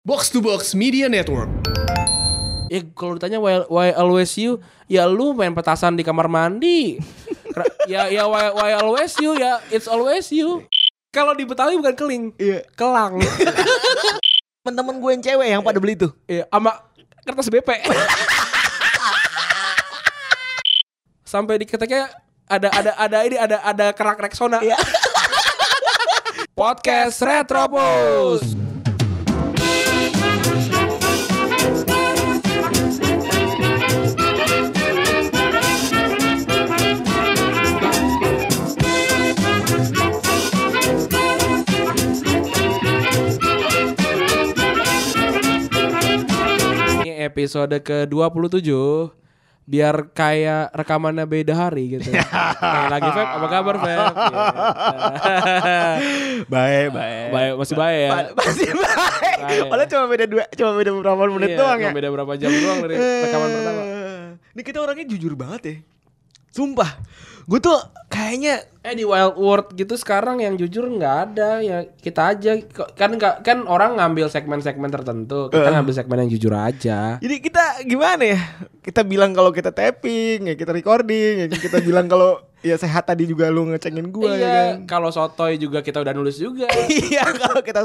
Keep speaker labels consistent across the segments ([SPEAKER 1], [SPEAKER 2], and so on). [SPEAKER 1] Box to Box Media Network.
[SPEAKER 2] ya kalau ditanya why, why always you ya lu main petasan di kamar mandi Kera- ya ya why, why always you ya it's always you kalau di Betawi bukan keling
[SPEAKER 3] Iya.
[SPEAKER 2] kelang
[SPEAKER 3] Temen-temen gue yang cewek yang pada beli tuh.
[SPEAKER 2] ya sama kertas BP sampai di keteknya ada ada ada ini ada ada kerak reksona
[SPEAKER 3] Iya.
[SPEAKER 2] podcast Retropus ini episode ke 27 biar kayak rekamannya beda hari gitu. Nah, lagi Feb, apa kabar Feb? Gitu.
[SPEAKER 3] Baik, baik.
[SPEAKER 2] baik, masih baik ya.
[SPEAKER 3] Masih baik.
[SPEAKER 2] Baik.
[SPEAKER 3] Padahal cuma beda dua, cuma beda beberapa menit
[SPEAKER 2] Iya,
[SPEAKER 3] doang ya.
[SPEAKER 2] cuma Beda berapa jam doang dari rekaman pertama.
[SPEAKER 3] Eh, Ini kita orangnya jujur banget ya. Sumpah. Gue tuh kayaknya
[SPEAKER 2] Eh di Wild World gitu sekarang yang jujur nggak ada ya kita aja Kok- kan nggak kan orang ngambil segmen-segmen tertentu
[SPEAKER 3] Eh.
[SPEAKER 2] kita ngambil segmen yang jujur aja.
[SPEAKER 3] jadi kita gimana ya? Kita bilang kalau kita tapping, ya kita recording, ya kita bilang kalau ya sehat tadi juga lu ngecengin gue ya
[SPEAKER 2] iya,
[SPEAKER 3] kan.
[SPEAKER 2] kalau sotoy juga kita udah nulis juga.
[SPEAKER 3] Iya, kalau kita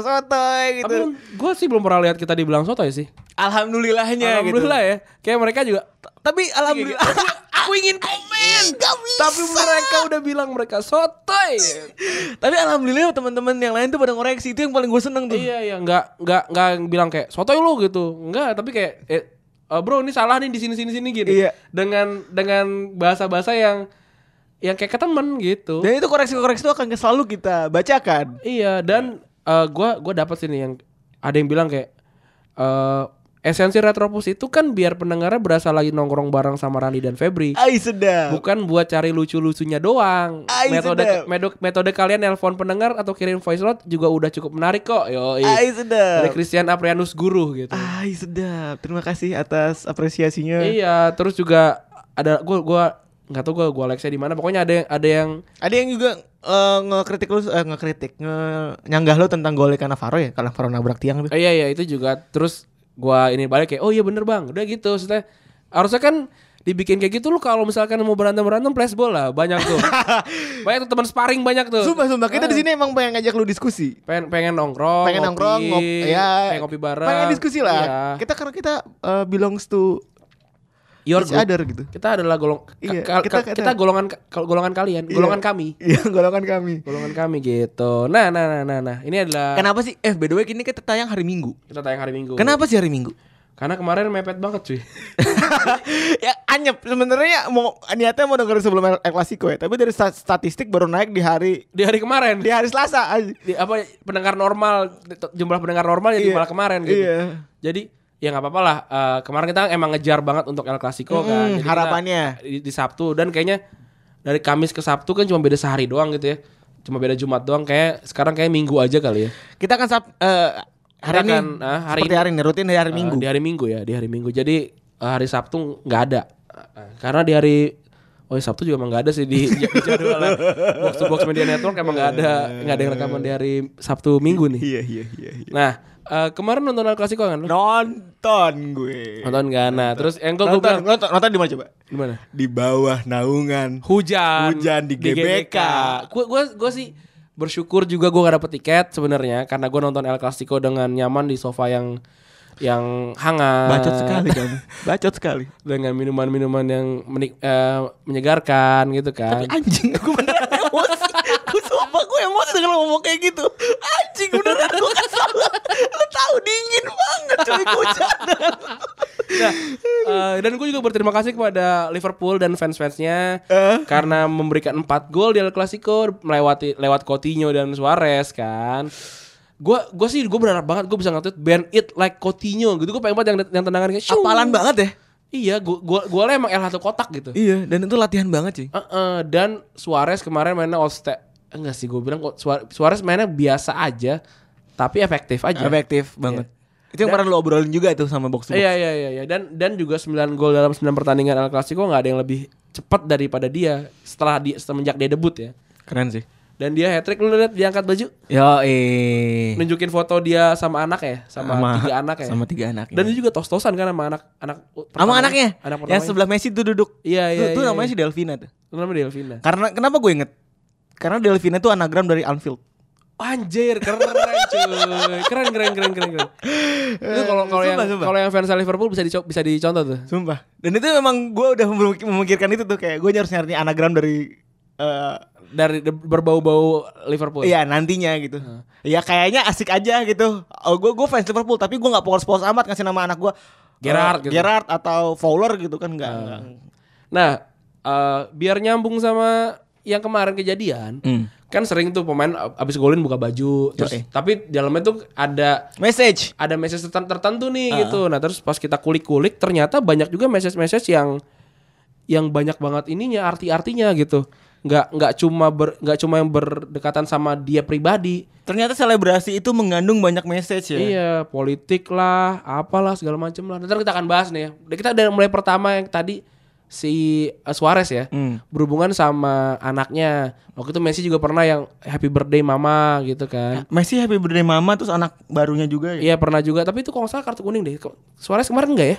[SPEAKER 2] Tapi
[SPEAKER 3] sotoy gitu.
[SPEAKER 2] gue sih belum pernah lihat kita dibilang sotoy sih.
[SPEAKER 3] Alhamdulillahnya
[SPEAKER 2] Alhamdulillah
[SPEAKER 3] gitu.
[SPEAKER 2] ya. Kayak mereka juga.
[SPEAKER 3] Tapi alhamdulillah
[SPEAKER 2] Aku ingin komen.
[SPEAKER 3] Tapi
[SPEAKER 2] Tapi mereka udah bilang mereka sotoy.
[SPEAKER 3] Tapi alhamdulillah teman-teman yang lain tuh pada ngoreksi itu yang paling gue seneng tuh.
[SPEAKER 2] iya iya nggak nggak nggak bilang kayak sotoy lu gitu. Nggak tapi kayak eh, eh, bro ini salah nih di sini sini sini gini.
[SPEAKER 3] Iya.
[SPEAKER 2] Dengan dengan bahasa bahasa yang yang kayak ke temen gitu.
[SPEAKER 3] Dan itu koreksi-koreksi itu akan selalu kita bacakan.
[SPEAKER 2] Iya dan eh, gua gua dapat sini yang ada yang bilang kayak eh, esensi retropus itu kan biar pendengarnya berasa lagi nongkrong bareng sama Rani dan Febri.
[SPEAKER 3] Ai sedap.
[SPEAKER 2] Bukan buat cari lucu-lucunya doang.
[SPEAKER 3] Ay,
[SPEAKER 2] metode,
[SPEAKER 3] sedap.
[SPEAKER 2] metode metode kalian nelpon pendengar atau kirim voice note juga udah cukup menarik kok. Yo. Dari
[SPEAKER 3] Ai sedap.
[SPEAKER 2] Christian Aprianus Guru gitu.
[SPEAKER 3] Ai sedap. Terima kasih atas apresiasinya.
[SPEAKER 2] Iya, terus juga ada gua gua nggak tahu gua gua Alexa di mana. Pokoknya ada yang ada yang
[SPEAKER 3] Ada yang juga eh, ngekritik lu eh, ngekritik nge nyanggah lu tentang golekan Navarro ya, karena Navarro nabrak tiang tuh.
[SPEAKER 2] Eh, iya iya itu juga terus gua ini balik kayak oh iya bener bang udah gitu maksudnya harusnya kan dibikin kayak gitu lu kalau misalkan mau berantem berantem flashball lah banyak tuh banyak tuh teman sparring banyak tuh
[SPEAKER 3] Sumpah sumpah kita di sini emang pengen ngajak lu diskusi.
[SPEAKER 2] pengen pengen nongkrong ngopi,
[SPEAKER 3] Pengen nongkrong, ngop- ya,
[SPEAKER 2] pengen kopi bareng
[SPEAKER 3] Pengen diskusi lah.
[SPEAKER 2] Iya.
[SPEAKER 3] Kita karena kita eh, belongs to
[SPEAKER 2] Your
[SPEAKER 3] each
[SPEAKER 2] group.
[SPEAKER 3] other gitu.
[SPEAKER 2] kita adalah golong ka-
[SPEAKER 3] Iya,
[SPEAKER 2] ka-
[SPEAKER 3] kita-
[SPEAKER 2] ka-
[SPEAKER 3] kita-
[SPEAKER 2] kita, golongan ka- golongan kalian golongan kami
[SPEAKER 3] Iya, golongan kami.
[SPEAKER 2] golongan kami gitu nah nah nah nah nah ini adalah
[SPEAKER 3] Kenapa sih? Eh, by the way, ini kita tayang hari Minggu.
[SPEAKER 2] kita tayang hari minggu
[SPEAKER 3] Kenapa sih hari Minggu?
[SPEAKER 2] karena kemarin mepet banget cuy
[SPEAKER 3] ya anyep sebenarnya mau niatnya mau dengerin sebelum El Clasico ya, tapi dari sta- statistik baru naik di hari
[SPEAKER 2] di hari kemarin
[SPEAKER 3] di hari Selasa. aja.
[SPEAKER 2] di, apa pendengar normal t- jumlah pendengar normal jadi
[SPEAKER 3] Iya.
[SPEAKER 2] malah kemarin gitu.
[SPEAKER 3] Iya.
[SPEAKER 2] Jadi ya nggak apa-apa lah. Eh, kemarin kita emang ngejar banget untuk El Clasico
[SPEAKER 3] Mm,
[SPEAKER 2] kan. Jadi kita
[SPEAKER 3] harapannya.
[SPEAKER 2] di, di Sabtu dan kayaknya dari Kamis ke Sabtu kan cuma beda sehari doang gitu ya. Cuma beda Jumat doang kayak sekarang kayak Minggu aja kali ya.
[SPEAKER 3] Kita akan sab- eh, hari
[SPEAKER 2] Kita
[SPEAKER 3] ini
[SPEAKER 2] akan, ah, hari
[SPEAKER 3] seperti
[SPEAKER 2] ini.
[SPEAKER 3] hari ini rutin hari, hari
[SPEAKER 2] Eh,
[SPEAKER 3] Minggu.
[SPEAKER 2] di hari Minggu ya, di hari Minggu. Jadi eh, hari Sabtu nggak ada. Eh, Karena di hari Oh Sabtu juga emang gak ada sih di, di jadwalnya. Box to Box Media Network emang gak ada nggak ada yang rekaman di hari Sabtu Minggu nih.
[SPEAKER 3] Iya iya iya. iya.
[SPEAKER 2] Nah, eh, kemarin nonton El Clasico kan? lu?
[SPEAKER 3] Nonton gue.
[SPEAKER 2] Nonton gak? Nah, terus yang gue
[SPEAKER 3] Nonton,
[SPEAKER 2] bilang
[SPEAKER 3] nonton, nonton di mana coba?
[SPEAKER 2] gimana?
[SPEAKER 3] Di bawah naungan.
[SPEAKER 2] Hujan.
[SPEAKER 3] Hujan di GBK.
[SPEAKER 2] Gue gue gue sih bersyukur juga gue gak dapet tiket sebenarnya karena gue nonton El Clasico dengan nyaman di sofa yang yang hangat.
[SPEAKER 3] Bacot sekali kamu. Bacot sekali.
[SPEAKER 2] Dengan minuman-minuman yang menik- eh, menyegarkan gitu kan.
[SPEAKER 3] Anjing, aku beneran emosi. Aku sumpah gue emosi dengan lo ngomong kayak gitu. Anjing, beneran gue kesel. Lo tahu dingin banget cuy gue cadar.
[SPEAKER 2] Nah, eh, dan gue juga berterima kasih kepada Liverpool dan fans-fansnya
[SPEAKER 3] Eh?
[SPEAKER 2] karena memberikan 4 gol di El Clasico melewati lewat Coutinho dan Suarez kan. Gue gue sih gue berharap banget gue bisa nge band it like Coutinho gitu. Gue pengen banget yang yang tendangan kayak shoo.
[SPEAKER 3] Apalan banget ya.
[SPEAKER 2] Iya, gue gue gue lah emang L1 kotak gitu.
[SPEAKER 3] Iya, dan itu latihan banget cuy.
[SPEAKER 2] Heeh, dan Suarez kemarin mainnya all step. Enggak sih gue bilang kok Suarez, Suarez mainnya biasa aja tapi efektif aja.
[SPEAKER 3] Efektif banget. Itu yang pernah lo obrolin juga tuh sama box to box.
[SPEAKER 2] Iya iya iya iya. dan dan juga 9 gol dalam 9 pertandingan El Clasico nggak ada yang lebih cepat daripada dia setelah dia semenjak dia debut ya.
[SPEAKER 3] Keren sih.
[SPEAKER 2] Dan dia hat trick lu lihat dia angkat baju,
[SPEAKER 3] Yo, eh.
[SPEAKER 2] nunjukin foto dia sama anak ya, sama, tiga anak ya.
[SPEAKER 3] Sama tiga anak. iya.
[SPEAKER 2] Dan dia juga tos-tosan kan sama anak anak
[SPEAKER 3] sama anaknya.
[SPEAKER 2] Anak
[SPEAKER 3] yang
[SPEAKER 2] pertamanya.
[SPEAKER 3] sebelah Messi tuh duduk.
[SPEAKER 2] Iya,
[SPEAKER 3] Tuh-
[SPEAKER 2] iya.
[SPEAKER 3] tuh
[SPEAKER 2] iya,
[SPEAKER 3] namanya
[SPEAKER 2] iya.
[SPEAKER 3] si Delvina tuh.
[SPEAKER 2] namanya Delvina.
[SPEAKER 3] Karena kenapa gue inget? Karena Delvina tuh anagram dari Anfield.
[SPEAKER 2] Anjir, keren cuy. Keren keren keren keren. keren. Itu kalau kalau yang
[SPEAKER 3] Sumpah, sumpah.
[SPEAKER 2] kalau yang fans Liverpool bisa dico- bisa dicontoh tuh.
[SPEAKER 3] Sumpah. Dan itu memang gue udah memik- memikirkan itu tuh kayak gue harus nyari anagram dari eh,
[SPEAKER 2] Dari de- berbau-bau Liverpool.
[SPEAKER 3] Iya nantinya gitu. Ya kayaknya asik aja gitu. Oh, gue gue fans Liverpool tapi gue nggak polos-polos amat ngasih nama anak gue
[SPEAKER 2] Gerrard gitu.
[SPEAKER 3] Gerard atau Fowler gitu kan nggak. nggak.
[SPEAKER 2] Nah, eh, biar nyambung sama yang kemarin kejadian,
[SPEAKER 3] Hmm.
[SPEAKER 2] kan sering tuh pemain ab- abis golin buka baju, terus
[SPEAKER 3] Yoi.
[SPEAKER 2] tapi dalamnya tuh ada
[SPEAKER 3] Message.
[SPEAKER 2] ada message terten- tertentu nih gitu. Nah, terus pas kita kulik-kulik ternyata banyak juga message-message yang yang banyak banget ininya arti-artinya gitu. Nggak nggak cuma ber, nggak cuma yang berdekatan sama dia pribadi.
[SPEAKER 3] Ternyata selebrasi itu mengandung banyak message ya.
[SPEAKER 2] Iya, politik lah, apalah segala macem lah. Nanti kita akan bahas nih. ya. Kita dari mulai pertama yang tadi si eh, Suarez ya.
[SPEAKER 3] Hmm.
[SPEAKER 2] Berhubungan sama anaknya. Waktu itu Messi juga pernah yang happy birthday mama gitu kan.
[SPEAKER 3] Messi happy birthday mama terus anak barunya juga ya.
[SPEAKER 2] Iya pernah juga, tapi itu kalau nggak salah kartu kuning deh. Kok Suarez kemarin enggak ya?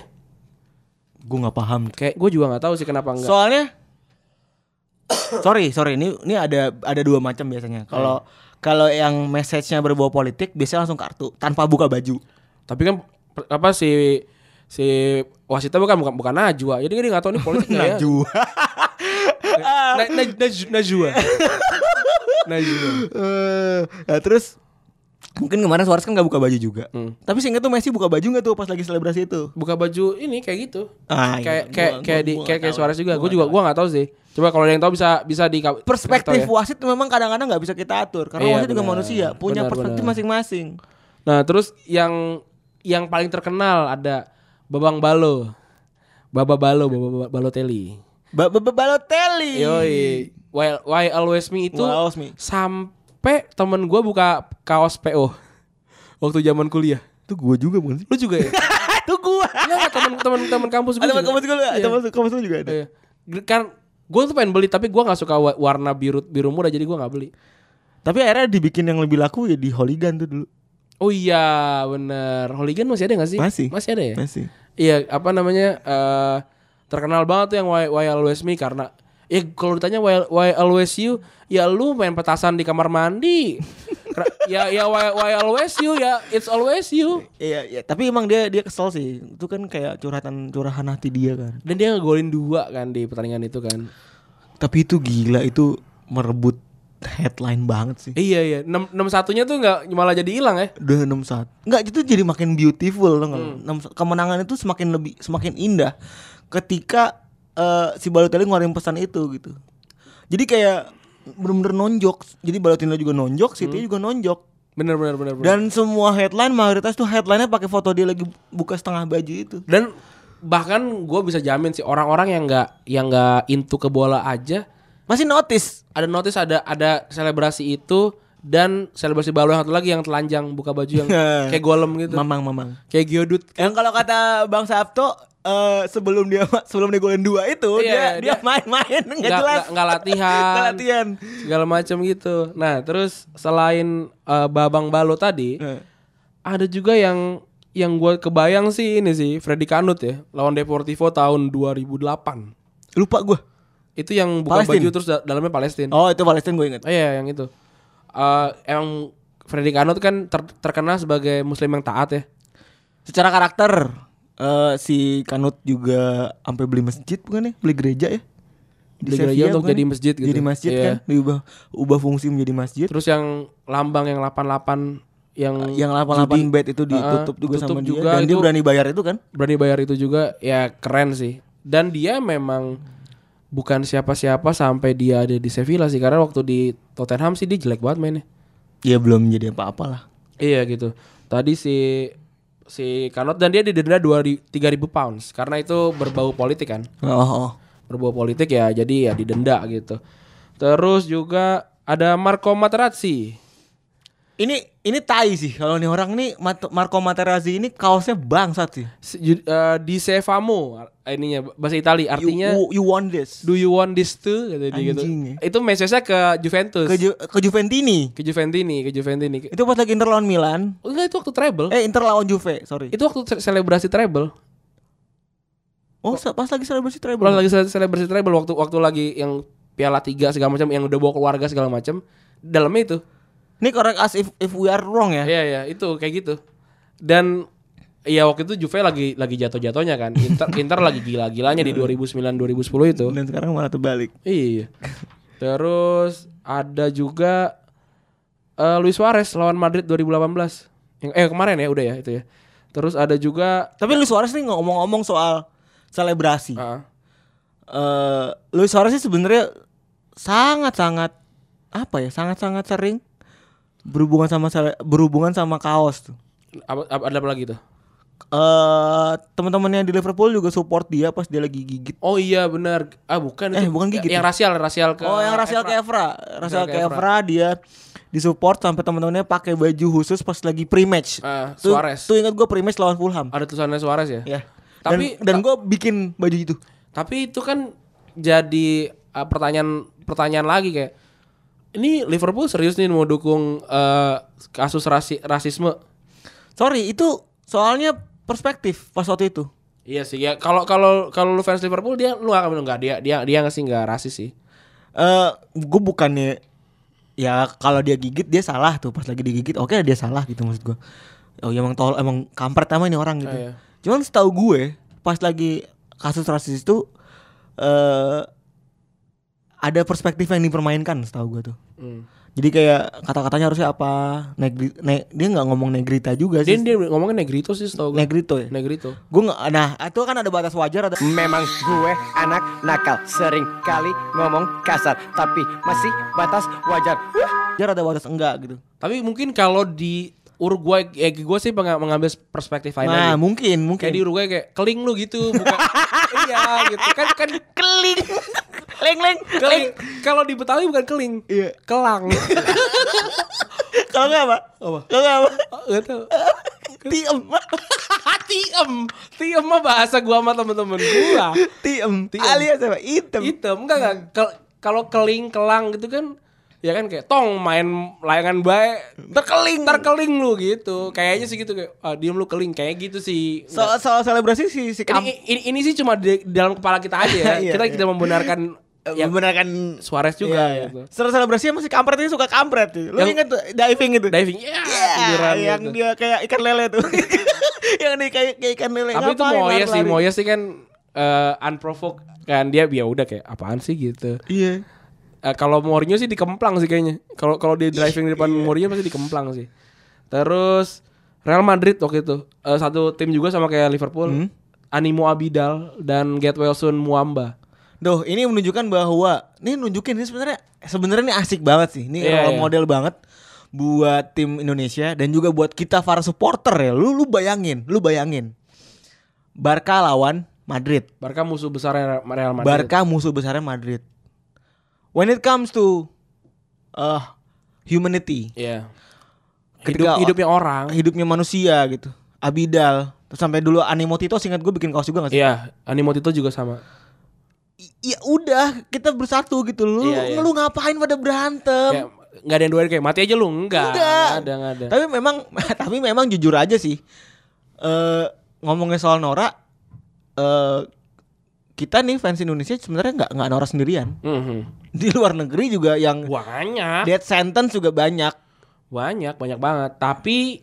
[SPEAKER 3] Gue nggak paham.
[SPEAKER 2] Kayak gue juga nggak tahu sih kenapa enggak.
[SPEAKER 3] Soalnya Sorry, sorry. Ini ini ada ada dua macam biasanya. Kalau
[SPEAKER 2] Hmm.
[SPEAKER 3] kalau yang message-nya berbau politik biasanya langsung kartu tanpa buka baju.
[SPEAKER 2] tapi kan per- apa si si wasitnya bukan bukan bukan Najwa. Jadi dia nggak tahu nih politik nggak ya.
[SPEAKER 3] Najwa.
[SPEAKER 2] Na, na, Naj- Najwa. Najwa.
[SPEAKER 3] eh nah, terus mungkin kemarin Suarez kan nggak buka baju juga.
[SPEAKER 2] Hmm.
[SPEAKER 3] Tapi seingat tuh Messi buka baju nggak tuh pas lagi selebrasi itu?
[SPEAKER 2] buka baju ini kayak gitu.
[SPEAKER 3] Ah,
[SPEAKER 2] kayak kayak
[SPEAKER 3] iya.
[SPEAKER 2] kayak di
[SPEAKER 3] Gua- gua- gua
[SPEAKER 2] kayak
[SPEAKER 3] nggak
[SPEAKER 2] kayak
[SPEAKER 3] tahu.
[SPEAKER 2] Suarez juga.
[SPEAKER 3] Gua
[SPEAKER 2] Gue
[SPEAKER 3] nggak
[SPEAKER 2] juga
[SPEAKER 3] tahu.
[SPEAKER 2] gua nggak tahu sih. Coba kalau ada yang tahu bisa bisa di
[SPEAKER 3] Perspektif
[SPEAKER 2] kasih tahu ya.
[SPEAKER 3] wasit memang kadang-kadang nggak bisa kita atur karena
[SPEAKER 2] Iya,
[SPEAKER 3] wasit juga
[SPEAKER 2] benar.
[SPEAKER 3] manusia punya
[SPEAKER 2] Benar,
[SPEAKER 3] perspektif
[SPEAKER 2] benar.
[SPEAKER 3] masing-masing.
[SPEAKER 2] Nah, terus yang yang paling terkenal ada Babang Balo. Baba Balo, Baba Baba- Balotelli.
[SPEAKER 3] Ba- ba- ba- Balotelli.
[SPEAKER 2] Yoi. Why, why always me itu
[SPEAKER 3] Wow, Osmi.
[SPEAKER 2] sampai temen gua buka kaos PO waktu zaman kuliah.
[SPEAKER 3] Itu gua juga bukan sih?
[SPEAKER 2] Lu juga ya?
[SPEAKER 3] itu gua.
[SPEAKER 2] Enggak, temen-temen temen kampus
[SPEAKER 3] Ada
[SPEAKER 2] gua. juga.
[SPEAKER 3] kamu juga ada
[SPEAKER 2] Iya.
[SPEAKER 3] kamu juga juga ada.
[SPEAKER 2] Iya. Kan gue tuh pengen beli tapi gue nggak suka wa- warna biru biru muda jadi gue nggak beli.
[SPEAKER 3] Tapi akhirnya dibikin yang lebih laku ya di Holigan tuh dulu.
[SPEAKER 2] Oh iya bener Hooligan masih ada gak sih?
[SPEAKER 3] Masih.
[SPEAKER 2] Masih ada ya?
[SPEAKER 3] Messi.
[SPEAKER 2] Iya apa namanya eh Terkenal banget tuh yang Why, Why Always Me Karena Ya kalau ditanya why, why Always You Ya lu main petasan di kamar mandi Kera- Ya ya why, why Always You Ya It's Always You
[SPEAKER 3] Iya, iya, tapi emang dia dia kesel sih. Itu kan kayak curhatan curahan hati dia kan.
[SPEAKER 2] Dan dia ngegolin dua kan di pertandingan itu kan
[SPEAKER 3] Tapi itu gila itu merebut headline banget sih.
[SPEAKER 2] Iya iya 6, 6 satunya tuh nggak malah jadi hilang ya
[SPEAKER 3] Udah 6 saat. Hmm. Enggak itu jadi makin beautiful loh Kemenangan itu semakin lebih semakin indah ketika eh, si Balotelli ngeluarin pesan itu gitu. Jadi kayak bener-bener nonjok. Jadi Balotelli juga nonjok, City juga nonjok.
[SPEAKER 2] Bener bener bener, bener.
[SPEAKER 3] Dan semua headline mayoritas tuh headline-nya pakai foto dia lagi buka setengah baju itu.
[SPEAKER 2] dan bahkan gue bisa jamin sih orang-orang yang nggak yang nggak into ke bola aja
[SPEAKER 3] Masih notice.
[SPEAKER 2] ada notice ada ada selebrasi itu dan selebrasi baru yang satu lagi yang telanjang buka baju yang kayak golem gitu
[SPEAKER 3] Mamang, mamang.
[SPEAKER 2] kayak Giodut
[SPEAKER 3] Yang kalau kata Bang Sabto eh, sebelum dia sebelum dia golin dua itu
[SPEAKER 2] Iya,
[SPEAKER 3] dia dia
[SPEAKER 2] dia-
[SPEAKER 3] main-main nggak
[SPEAKER 2] nggak-
[SPEAKER 3] jelas
[SPEAKER 2] nggak- nggak latihan.
[SPEAKER 3] Nggak latihan
[SPEAKER 2] segala macam gitu nah terus selain eh, Babang Balo tadi
[SPEAKER 3] Eh.
[SPEAKER 2] ada juga yang yang gue kebayang sih ini sih Freddy Kanut ya lawan Deportivo tahun 2008
[SPEAKER 3] lupa gue
[SPEAKER 2] itu yang buka
[SPEAKER 3] Palestin.
[SPEAKER 2] baju terus da- dalamnya Palestina
[SPEAKER 3] oh itu Palestina gue inget
[SPEAKER 2] Oh iya yang itu. Eh emang Freddy Kanot kan ter- terkenal sebagai muslim yang taat ya.
[SPEAKER 3] secara karakter eh, si Kanut juga sampai beli masjid bukan ya beli gereja ya
[SPEAKER 2] Beli gereja untuk
[SPEAKER 3] bukan
[SPEAKER 2] jadi
[SPEAKER 3] ya?
[SPEAKER 2] masjid gitu.
[SPEAKER 3] jadi masjid
[SPEAKER 2] Iya.
[SPEAKER 3] kan diubah ubah fungsi menjadi masjid
[SPEAKER 2] Terus yang lambang yang 88 yang
[SPEAKER 3] Ah, yang 88 bed itu ditutup
[SPEAKER 2] Ah,
[SPEAKER 3] juga
[SPEAKER 2] tutup
[SPEAKER 3] sama
[SPEAKER 2] juga
[SPEAKER 3] dia dan dia
[SPEAKER 2] itu-
[SPEAKER 3] berani bayar itu kan
[SPEAKER 2] berani bayar itu juga ya keren sih. Dan dia memang bukan siapa-siapa sampai dia ada di Sevilla sih karena waktu di Tottenham sih dia jelek banget mainnya.
[SPEAKER 3] dia Ya, belum jadi apa-apa lah
[SPEAKER 2] Iya gitu. Tadi si si Kanot dan dia didenda 2000 3000 pounds karena itu berbau politik kan.
[SPEAKER 3] oh, oh.
[SPEAKER 2] berbau politik ya jadi ya didenda gitu. Terus juga ada Marco Materazzi.
[SPEAKER 3] Ini ini tai sih kalau nih orang nih Mat- Marco Materazzi ini kaosnya bangsat sih.
[SPEAKER 2] Se- ju- eh, di Sevamo ininya bahasa Itali artinya
[SPEAKER 3] you, you, you want this.
[SPEAKER 2] do you want this too kata dia gitu.
[SPEAKER 3] Anjing ya.
[SPEAKER 2] Itu message-nya ke Juventus.
[SPEAKER 3] Ke, Ju- ke Juventini.
[SPEAKER 2] ke Juventini, ke Juventini. Ke-
[SPEAKER 3] Itu pas lagi Inter lawan Milan.
[SPEAKER 2] Oh, enggak itu waktu treble.
[SPEAKER 3] Eh Inter lawan Juve, sorry.
[SPEAKER 2] Itu waktu se- selebrasi treble.
[SPEAKER 3] Oh, se- pas lagi selebrasi
[SPEAKER 2] Pulang
[SPEAKER 3] treble.
[SPEAKER 2] lagi se- selebrasi treble waktu waktu lagi yang Piala 3 segala macam yang udah bawa keluarga segala macam. Dalamnya itu.
[SPEAKER 3] Ini correct us if if we are wrong ya.
[SPEAKER 2] Iya iya, itu kayak gitu. Dan Iya waktu itu Juve lagi lagi jatuh-jatuhnya kan. Inter Inter lagi gila-gilanya di
[SPEAKER 3] Iya.
[SPEAKER 2] 2009 2010 itu.
[SPEAKER 3] Dan sekarang malah terbalik.
[SPEAKER 2] Iya. Terus ada juga eh, Luis Suarez lawan Madrid 2018. Yang eh kemarin ya udah ya itu ya. Terus ada juga
[SPEAKER 3] Tapi Luis Suarez nih ngomong-ngomong soal selebrasi. Eh
[SPEAKER 2] ah,
[SPEAKER 3] Luis Suarez sih sebenarnya sangat-sangat apa ya? Sangat-sangat sering berhubungan sama sele- berhubungan sama kaos tuh.
[SPEAKER 2] apa, apa- ada apa lagi tuh?
[SPEAKER 3] Eh teman-temannya di Liverpool juga support dia pas dia lagi gigit.
[SPEAKER 2] Oh iya benar. Ah bukan
[SPEAKER 3] Eh, bukan gigit
[SPEAKER 2] Yang
[SPEAKER 3] ya?
[SPEAKER 2] rasial, rasial ke
[SPEAKER 3] oh, yang Rasial ke Evra. Rasial
[SPEAKER 2] ke
[SPEAKER 3] ke Evra dia disupport sampai teman-temannya pakai baju khusus pas lagi pre-match.
[SPEAKER 2] Ah,
[SPEAKER 3] Tuh-
[SPEAKER 2] Suarez.
[SPEAKER 3] Tuh, ingat gue pre-match lawan Fulham.
[SPEAKER 2] Ada tulisannya Suarez ya?
[SPEAKER 3] Ya.
[SPEAKER 2] Tapi-
[SPEAKER 3] dan, dan gue bikin baju itu.
[SPEAKER 2] Tapi itu kan jadi uh, pertanyaan pertanyaan lagi kayak ini Liverpool serius nih mau dukung uh, kasus rasi- rasisme.
[SPEAKER 3] Sorry, itu soalnya perspektif pas waktu itu.
[SPEAKER 2] Iya sih ya kalau kalau kalau lu fans Liverpool dia lu akan bilang enggak dia dia dia nggak sih nggak rasis sih.
[SPEAKER 3] Eh, gue bukannya ya kalau dia gigit dia salah tuh pas lagi digigit. Oke, dia salah gitu maksud gue. Oh, ya emang tol emang kampret sama ini orang gitu.
[SPEAKER 2] Ah, iya.
[SPEAKER 3] Cuman setahu gue pas lagi kasus rasis itu eh ada perspektif yang dipermainkan setahu gue tuh.
[SPEAKER 2] Hmm.
[SPEAKER 3] Jadi kayak kata-katanya harusnya apa? Negri, ne- dia nggak ngomong negrita juga
[SPEAKER 2] Dia
[SPEAKER 3] sih.
[SPEAKER 2] dia ngomongnya Negrito sih tau gue.
[SPEAKER 3] Negrito ya.
[SPEAKER 2] Negrito.
[SPEAKER 3] Gue nggak. Nah, itu kan ada batas wajar ada.
[SPEAKER 4] Memang gue anak nakal, sering kali ngomong kasar, tapi masih batas wajar.
[SPEAKER 3] wajar ada batas enggak gitu.
[SPEAKER 2] Tapi mungkin kalau di Uruguay eh gue sih penga- mengambil perspektif lain lagi.
[SPEAKER 3] Nah, mungkin mungkin.
[SPEAKER 2] Kayak di Uruguay kayak keling lu gitu bukan iya gitu kan kan
[SPEAKER 3] keling. leng leng.
[SPEAKER 2] keling kalau di Betawi bukan keling.
[SPEAKER 3] Iya.
[SPEAKER 2] Kelang.
[SPEAKER 3] Kalau enggak apa? Oh, Kalau enggak apa?
[SPEAKER 2] Gak tau
[SPEAKER 3] Tiem.
[SPEAKER 2] Tiem Tiem mah bahasa gua sama temen-temen gua
[SPEAKER 3] Tiem.
[SPEAKER 2] Tiem.
[SPEAKER 3] Alias apa? Item.
[SPEAKER 2] Hitam Enggak enggak Kel- Kalau keling kelang gitu kan Ya kan kayak tong main layangan baik Terkeling Terkeling lu gitu Kayaknya sih gitu kayak ah, Diem lu keling Kayak gitu sih
[SPEAKER 3] Soal soal selebrasi si si
[SPEAKER 2] Nggak- ini,
[SPEAKER 3] kamp.
[SPEAKER 2] ini, ini sih cuma di dalam kepala kita aja ya
[SPEAKER 3] Iya,
[SPEAKER 2] Kita
[SPEAKER 3] iya.
[SPEAKER 2] tidak membenarkan yang
[SPEAKER 3] Membenarkan
[SPEAKER 2] Suarez juga
[SPEAKER 3] Iya, iya.
[SPEAKER 2] gitu.
[SPEAKER 3] Soal selebrasi masih kampret ini suka kampret. tuh. Lu
[SPEAKER 2] Yang-
[SPEAKER 3] inget tuh diving itu?
[SPEAKER 2] Diving ya
[SPEAKER 3] Iya,
[SPEAKER 2] tiduran
[SPEAKER 3] yang
[SPEAKER 2] gitu.
[SPEAKER 3] dia kayak ikan lele tuh. yang dia kayak, kayak ikan lele.
[SPEAKER 2] Tapi itu
[SPEAKER 3] Ngapain
[SPEAKER 2] Moyes sih
[SPEAKER 3] lari-lari?
[SPEAKER 2] Moyes sih kan eh, Unprovoked kan Dia ya udah kayak apaan sih gitu
[SPEAKER 3] Iya.
[SPEAKER 2] Eh, kalau Mourinho sih dikemplang sih kayaknya. Kalau kalau dia driving di depan
[SPEAKER 3] Iya.
[SPEAKER 2] Mourinho pasti dikemplang sih. Terus Real Madrid waktu itu Eh, satu tim juga sama kayak Liverpool.
[SPEAKER 3] Hmm?
[SPEAKER 2] Animo Abidal dan Get Wilson Muamba.
[SPEAKER 3] Duh, ini menunjukkan bahwa ini nunjukin ini sebenarnya sebenarnya ini asik banget sih. Ini
[SPEAKER 2] Iya,
[SPEAKER 3] role
[SPEAKER 2] iya.
[SPEAKER 3] model banget buat tim Indonesia dan juga buat kita para supporter ya. Lu lu bayangin, lu bayangin. Barca lawan Madrid.
[SPEAKER 2] Barca musuh besar Real Madrid.
[SPEAKER 3] Barca musuh besarnya Madrid. When it comes to eh humanity,
[SPEAKER 2] Iya.
[SPEAKER 3] Ketika-
[SPEAKER 2] Hidup, hidupnya orang.
[SPEAKER 3] hidupnya manusia gitu. Abidal, terus sampai dulu Animo Tito ingat gue bikin kaos juga gak sih?
[SPEAKER 2] Iya, Animo Tito juga sama.
[SPEAKER 3] I- Ya udah, kita bersatu gitu. Lu
[SPEAKER 2] Iya, iya.
[SPEAKER 3] lu ngapain pada berantem?
[SPEAKER 2] Kayak nggak ada yang doain kayak mati aja lu enggak.
[SPEAKER 3] Enggak.
[SPEAKER 2] ada, enggak ada.
[SPEAKER 3] Tapi memang tapi memang jujur aja sih. Eh ngomongnya soal Nora eh kita nih fans Indonesia sebenarnya nggak nggak Nora sendirian.
[SPEAKER 2] Mhm.
[SPEAKER 3] Di luar negeri juga yang
[SPEAKER 2] Banyak.
[SPEAKER 3] death sentence juga banyak.
[SPEAKER 2] Banyak, banyak banget. Tapi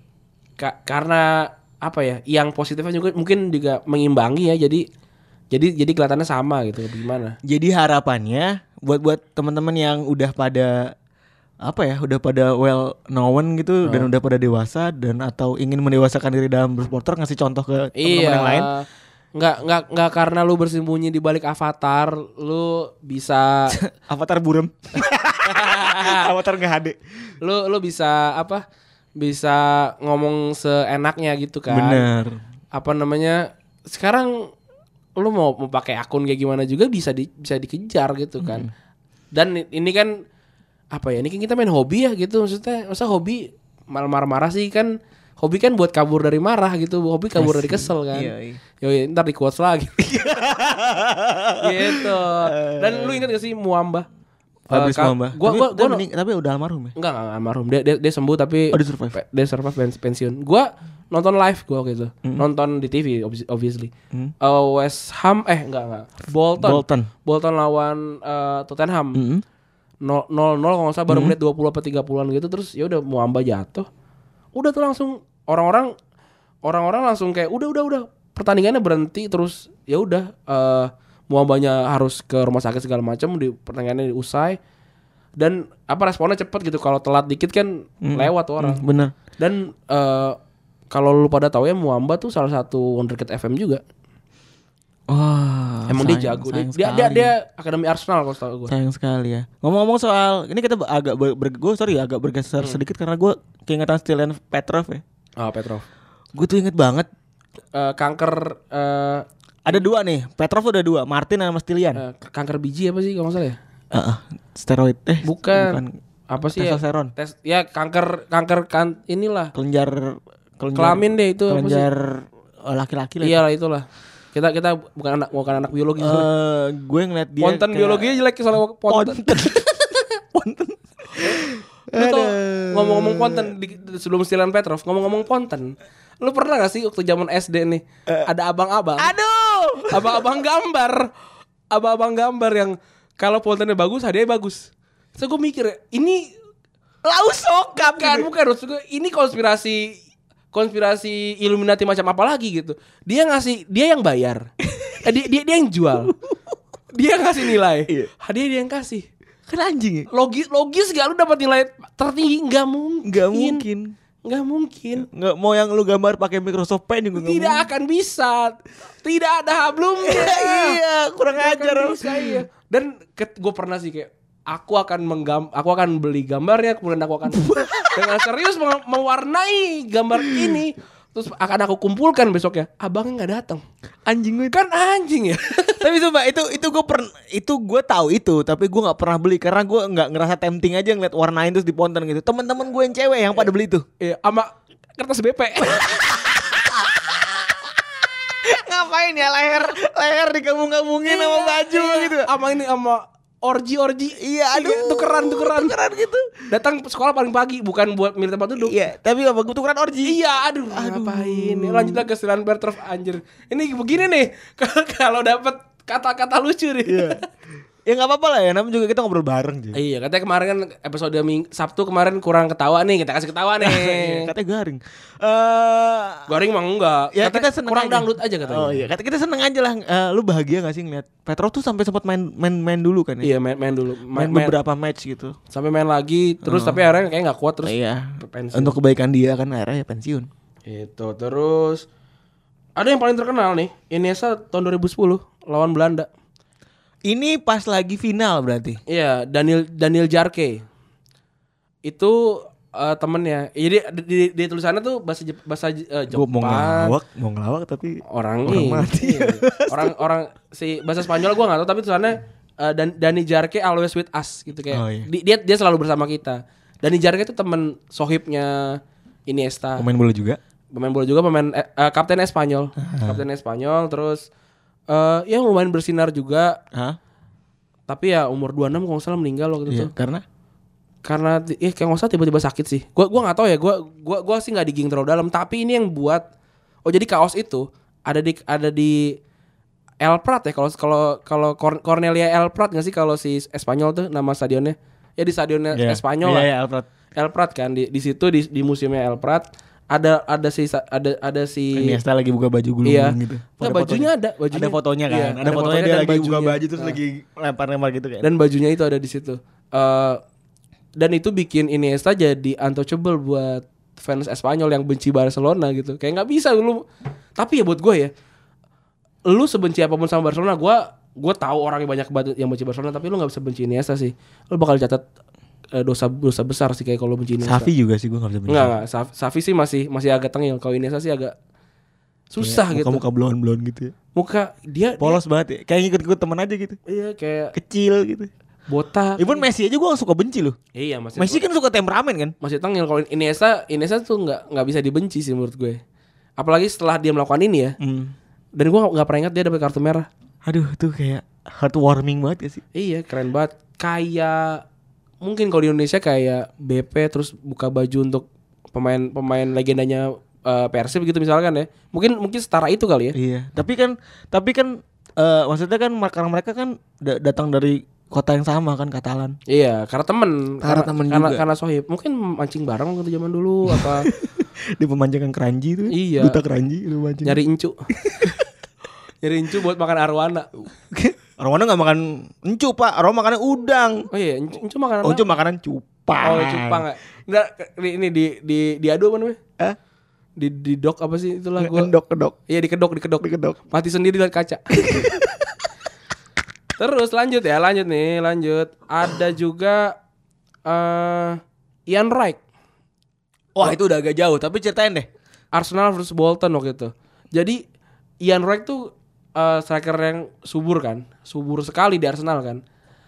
[SPEAKER 2] ka- karena apa ya? Yang positifnya juga mungkin juga mengimbangi ya. Jadi jadi jadi kelihatannya sama gitu. Gimana?
[SPEAKER 3] Jadi harapannya buat buat teman-teman yang udah pada apa ya udah pada well known gitu dan udah pada dewasa dan atau ingin mendewasakan diri dalam bersporter ngasih contoh ke teman-teman yang lain
[SPEAKER 2] Iya. Nggak nggak nggak karena lu bersembunyi di balik avatar, lu bisa
[SPEAKER 3] avatar burem avatar nggak HD
[SPEAKER 2] lu lu bisa apa? Bisa ngomong seenaknya gitu kan.
[SPEAKER 3] bener
[SPEAKER 2] Apa namanya? Sekarang lu mau mau pakai akun kayak gimana juga bisa di, bisa dikejar gitu kan.
[SPEAKER 3] Hmm.
[SPEAKER 2] Dan ini kan apa ya? Ini kan kita main hobi ya gitu maksudnya. Masa hobi mal marah-marah sih kan hobi kan buat kabur dari marah gitu, hobi kabur dari kesel kan.
[SPEAKER 3] Iya, iya.
[SPEAKER 2] Yoi, ntar di quotes lagi. gitu. Dan lu ingat gak sih Muamba? Eh,
[SPEAKER 3] Fabrice
[SPEAKER 2] Kak,
[SPEAKER 3] Muamba.
[SPEAKER 2] Gua
[SPEAKER 3] Tapi-
[SPEAKER 2] gua Iya.
[SPEAKER 3] tapi
[SPEAKER 2] gua
[SPEAKER 3] mening- tapi udah almarhum ya.
[SPEAKER 2] Enggak, enggak almarhum. Dia, dia dia sembuh tapi
[SPEAKER 3] Oh, dia survive.
[SPEAKER 2] pe- Dia survive pens- pensiun. Gua nonton live gua waktu itu. Nonton di TV obvi- obviously. Eh, West Ham eh enggak enggak. Bolton.
[SPEAKER 3] Hmm. Bolton. Hmm.
[SPEAKER 2] Bolton lawan eh, Tottenham. 0-0 kalau nggak salah baru menit 20 apa 30-an gitu terus ya udah Muamba jatuh. Udah tuh langsung orang-orang orang-orang langsung kayak udah udah udah pertandingannya berhenti terus ya udah eh Muambanya harus ke rumah sakit segala macam di pertandingannya diusai dan apa responnya cepet gitu kalau telat dikit kan
[SPEAKER 3] Hmm.
[SPEAKER 2] lewat tuh orang
[SPEAKER 3] Bener.
[SPEAKER 2] dan eh, kalau lu pada tahu ya Muamba tuh salah satu wonderkid FM juga
[SPEAKER 3] Wah.
[SPEAKER 2] emang dia
[SPEAKER 3] Ah, sayang-
[SPEAKER 2] jago
[SPEAKER 3] sayang
[SPEAKER 2] dia, dia dia
[SPEAKER 3] sekali.
[SPEAKER 2] dia akademi Arsenal kalau tahu gue
[SPEAKER 3] Sayang sekali ya. Ngomong-ngomong soal ini kita be- agak ber, ber- gua sorry ya, agak bergeser
[SPEAKER 2] Hmm.
[SPEAKER 3] sedikit karena gue keingetan Stylian Petrov ya.
[SPEAKER 2] ah Petrov
[SPEAKER 3] Gue tuh inget banget
[SPEAKER 2] Eh, kanker eh,
[SPEAKER 3] ada dua nih. Petrov tuh ada dua, Martin sama Stylian.
[SPEAKER 2] eh, kanker biji apa sih kalau nggak salah ya
[SPEAKER 3] Heeh. steroid eh
[SPEAKER 2] bukan, apa sih ya?
[SPEAKER 3] Testosteron.
[SPEAKER 2] tes ya kanker kanker kan inilah
[SPEAKER 3] kelenjar kelenjar
[SPEAKER 2] Kelamin deh itu apa sih? Iya.
[SPEAKER 3] kelenjar eh, laki-laki lah.
[SPEAKER 2] iyalah itulah kita kita bukan anak bukan anak biologi soalnya.
[SPEAKER 3] Eh, gue ngeliat dia
[SPEAKER 2] Ponten
[SPEAKER 3] kayak-
[SPEAKER 2] biologinya jelek ya, soalnya ponten.
[SPEAKER 3] Ponten. Ponten.
[SPEAKER 2] Lu tau ngomong-ngomong konten di- di- sebelum Stilan Petrov ngomong-ngomong konten. Lu pernah gak sih waktu zaman SD nih ada abang-abang?
[SPEAKER 3] Eh. Aduh.
[SPEAKER 2] Abang-abang gambar. Abang-abang gambar yang kalau kontennya bagus hadiahnya bagus. Terus gue mikir ini
[SPEAKER 3] Lau sokap
[SPEAKER 2] bukan bukan maksud gue ini konspirasi konspirasi Illuminati macam apa lagi gitu. Dia ngasih dia yang bayar. Eh, dia, dia dia yang jual. Dia yang ngasih nilai. Hadiah dia yang kasih.
[SPEAKER 3] Kan anjing ya?
[SPEAKER 2] Logis logis gak lu dapat nilai tertinggi? Gak mungkin.
[SPEAKER 3] Gak mungkin.
[SPEAKER 2] Nggak mungkin.
[SPEAKER 3] Nggak mau yang lu gambar pakai Microsoft Paint juga nggak
[SPEAKER 2] Tidak
[SPEAKER 3] mungkin.
[SPEAKER 2] akan bisa. Tidak ada hablumnya.
[SPEAKER 3] iya, kurang
[SPEAKER 2] Tidak akan
[SPEAKER 3] ajar.
[SPEAKER 2] bisa, iya. Dan gue pernah sih kayak aku akan menggam aku akan beli gambarnya kemudian aku akan dengan serius meng- mewarnai gambar ini terus akan aku kumpulkan besoknya abangnya nggak datang
[SPEAKER 3] Anjing gue.
[SPEAKER 2] kan anjing ya
[SPEAKER 3] tapi coba itu itu gue pernah itu gue tahu itu tapi gue nggak pernah beli karena gue nggak ngerasa tempting aja ngeliat warnain terus di ponten gitu teman-teman gue yang cewek yang pada beli itu
[SPEAKER 2] ya sama kertas BP
[SPEAKER 3] ngapain ya leher leher digabung-gabungin sama baju gitu
[SPEAKER 2] Iya, sama ini sama orgi orgi
[SPEAKER 3] Iya, aduh.
[SPEAKER 2] tukeran tukeran
[SPEAKER 3] Tukeran gitu.
[SPEAKER 2] datang sekolah paling pagi bukan buat milih tempat duduk
[SPEAKER 3] iya tapi apa gue tukeran orgi
[SPEAKER 2] Iya, aduh, ngapain? Lanjut lagi ke Silan Bertrov anjir. Ini begini nih, kalau dapat kata-kata lucu nih. Iya.
[SPEAKER 3] ya nggak apa-apa lah ya namanya juga kita ngobrol bareng aja
[SPEAKER 2] katanya kemarin kan episode Ming- Sabtu kemarin kurang ketawa nih, kita kasih ketawa
[SPEAKER 3] Iya,
[SPEAKER 2] nih.
[SPEAKER 3] katanya garing eh
[SPEAKER 2] Goring mah enggak.
[SPEAKER 3] ya
[SPEAKER 2] Katanya
[SPEAKER 3] kita seneng
[SPEAKER 2] kurang
[SPEAKER 3] aja.
[SPEAKER 2] dangdut aja katanya.
[SPEAKER 3] oh iya kata kita seneng aja lah Eh, lu bahagia gak sih ngeliat Petrov tuh sampai sempat main main main dulu kan
[SPEAKER 2] Iya,
[SPEAKER 3] ya
[SPEAKER 2] main, main dulu. Main,
[SPEAKER 3] main,
[SPEAKER 2] main,
[SPEAKER 3] beberapa match gitu
[SPEAKER 2] sampai main lagi terus tapi akhirnya kayak nggak kuat terus.
[SPEAKER 3] iya
[SPEAKER 2] pensiun.
[SPEAKER 3] untuk kebaikan dia kan akhirnya ya pensiun
[SPEAKER 2] Itu Gitu, terus ada yang paling terkenal nih, Iniesta tahun 2010 lawan Belanda.
[SPEAKER 3] ini pas lagi final berarti
[SPEAKER 2] Iya, Daniel Daniel Jarke. Itu eh, temennya. Jadi di, di, di tulisannya tuh bahasa Jep- bahasa eh,
[SPEAKER 3] gue mau
[SPEAKER 2] Jepang.
[SPEAKER 3] ngelawak mau ngelawak tapi
[SPEAKER 2] Orang
[SPEAKER 3] Orang
[SPEAKER 2] ini.
[SPEAKER 3] mati.
[SPEAKER 2] Iya. Orang orang si bahasa Spanyol gua nggak tahu tapi tulisannya eh, Dan Dani Jarke always with us gitu kayak.
[SPEAKER 3] Oh, iya.
[SPEAKER 2] Di- dia dia selalu bersama kita. Dani Jarke itu temen sohibnya Iniesta.
[SPEAKER 3] pemain bola juga
[SPEAKER 2] Pemain bola juga pemain eh, eh, kapten Espanyol. Kapten Espanyol terus eh ya lumayan bersinar juga
[SPEAKER 3] Hah?
[SPEAKER 2] tapi ya umur 26 kalau nggak salah meninggal waktu itu
[SPEAKER 3] Iya, karena
[SPEAKER 2] karena ti- eh kayak nggak usah tiba-tiba sakit sih. Gua gua nggak tahu ya. Gua gua gua sih nggak diging terlalu dalam. Tapi ini yang buat oh jadi kaos itu ada di ada di El Prat ya kalau kalau kalau Cor- Cornelia El Prat nggak sih kalau si Espanyol tuh nama stadionnya ya di stadionnya
[SPEAKER 3] Iya.
[SPEAKER 2] Espanyol
[SPEAKER 3] Iya,
[SPEAKER 2] lah.
[SPEAKER 3] iya, Alfred.
[SPEAKER 2] El Prat kan di, di situ di, di museumnya El Prat ada ada si ada ada si
[SPEAKER 3] Iniesta lagi buka baju gulung
[SPEAKER 2] Iya.
[SPEAKER 3] gitu.
[SPEAKER 2] Nggak,
[SPEAKER 3] Ada
[SPEAKER 2] bajunya
[SPEAKER 3] fotonya.
[SPEAKER 2] ada, bajunya.
[SPEAKER 3] Ada fotonya kan.
[SPEAKER 2] Iya, ada
[SPEAKER 3] ada, fotonya
[SPEAKER 2] fotonya
[SPEAKER 3] dia
[SPEAKER 2] dan
[SPEAKER 3] lagi buka
[SPEAKER 2] bajunya. Nah.
[SPEAKER 3] baju terus lagi lempar-lempar gitu kan.
[SPEAKER 2] dan bajunya itu ada di situ. Eh, dan itu bikin Iniesta jadi untouchable buat fans Espanyol yang benci Barcelona gitu. Kayak nggak bisa lu. Tapi ya buat gue ya, lu sebenci apapun sama Barcelona, gue gue tahu orang yang banyak banget yang benci Barcelona, tapi lu nggak bisa benci Iniesta sih. Lu bakal catat eh, dosa dosa besar sih kayak kalau benci Iniesta.
[SPEAKER 3] Safi juga sih gue gak bisa
[SPEAKER 2] Enggak, enggak. Saf- Safi sih masih masih agak tengil. Kalau Iniesta sih agak susah gitu. Iya.
[SPEAKER 3] Iya, Muka-muka
[SPEAKER 2] Muka,
[SPEAKER 3] blon-blon gitu ya.
[SPEAKER 2] dia dia-
[SPEAKER 3] Polos banget ya. Kayak ngikut-ngikut temen aja gitu.
[SPEAKER 2] Iya kayak
[SPEAKER 3] Kecil gitu.
[SPEAKER 2] botak.
[SPEAKER 3] Even Messi aja gue suka benci loh.
[SPEAKER 2] Iya masih.
[SPEAKER 3] Messi kan suka temperamen kan.
[SPEAKER 2] masih tengil kalau Iniesta Iniesta tuh nggak nggak bisa dibenci sih menurut gue. Apalagi setelah dia melakukan ini ya. Dan gue nggak nggak pernah ingat dia dapat kartu merah.
[SPEAKER 3] Aduh tuh kayak heartwarming banget gak sih?
[SPEAKER 2] Iya keren banget. Kayak mungkin kalau di Indonesia kayak BP terus buka baju untuk pemain-pemain legendanya eh, Persib gitu misalkan ya. Mungkin mungkin setara itu kali ya.
[SPEAKER 3] Iya. Tapi kan tapi kan eh, maksudnya kan karena mereka kan da- datang dari kota yang sama kan Katalan.
[SPEAKER 2] Iya, karena temen
[SPEAKER 3] Karena temen
[SPEAKER 2] karena,
[SPEAKER 3] juga.
[SPEAKER 2] karena sohib Mungkin mancing bareng waktu zaman dulu Apa
[SPEAKER 3] Di pemanjangan keranji itu.
[SPEAKER 2] Iya.
[SPEAKER 3] Duta keranji lu mancing.
[SPEAKER 2] nyari incu Nyari incu buat makan arwana
[SPEAKER 3] Arwana nggak makan encu pak, Arwana makannya udang.
[SPEAKER 2] Oh iya, incu, incu makan apa?
[SPEAKER 3] Oh, encu makanan cupang.
[SPEAKER 2] Oh, cupang ya. Nggak, di- ini di di diadu apa namanya?
[SPEAKER 3] Eh?
[SPEAKER 2] Di di dok apa sih itulah gua.
[SPEAKER 3] Kedok kedok
[SPEAKER 2] Iya, dikedok, dikedok.
[SPEAKER 3] kedok.
[SPEAKER 2] Mati sendiri lihat kaca. Terus lanjut ya, lanjut nih, lanjut. Ada juga eh Ian Wright,
[SPEAKER 3] Wah itu udah agak jauh, tapi ceritain deh.
[SPEAKER 2] Arsenal versus Bolton waktu itu. Jadi Ian Wright tuh eh, striker yang subur kan, subur sekali di Arsenal kan.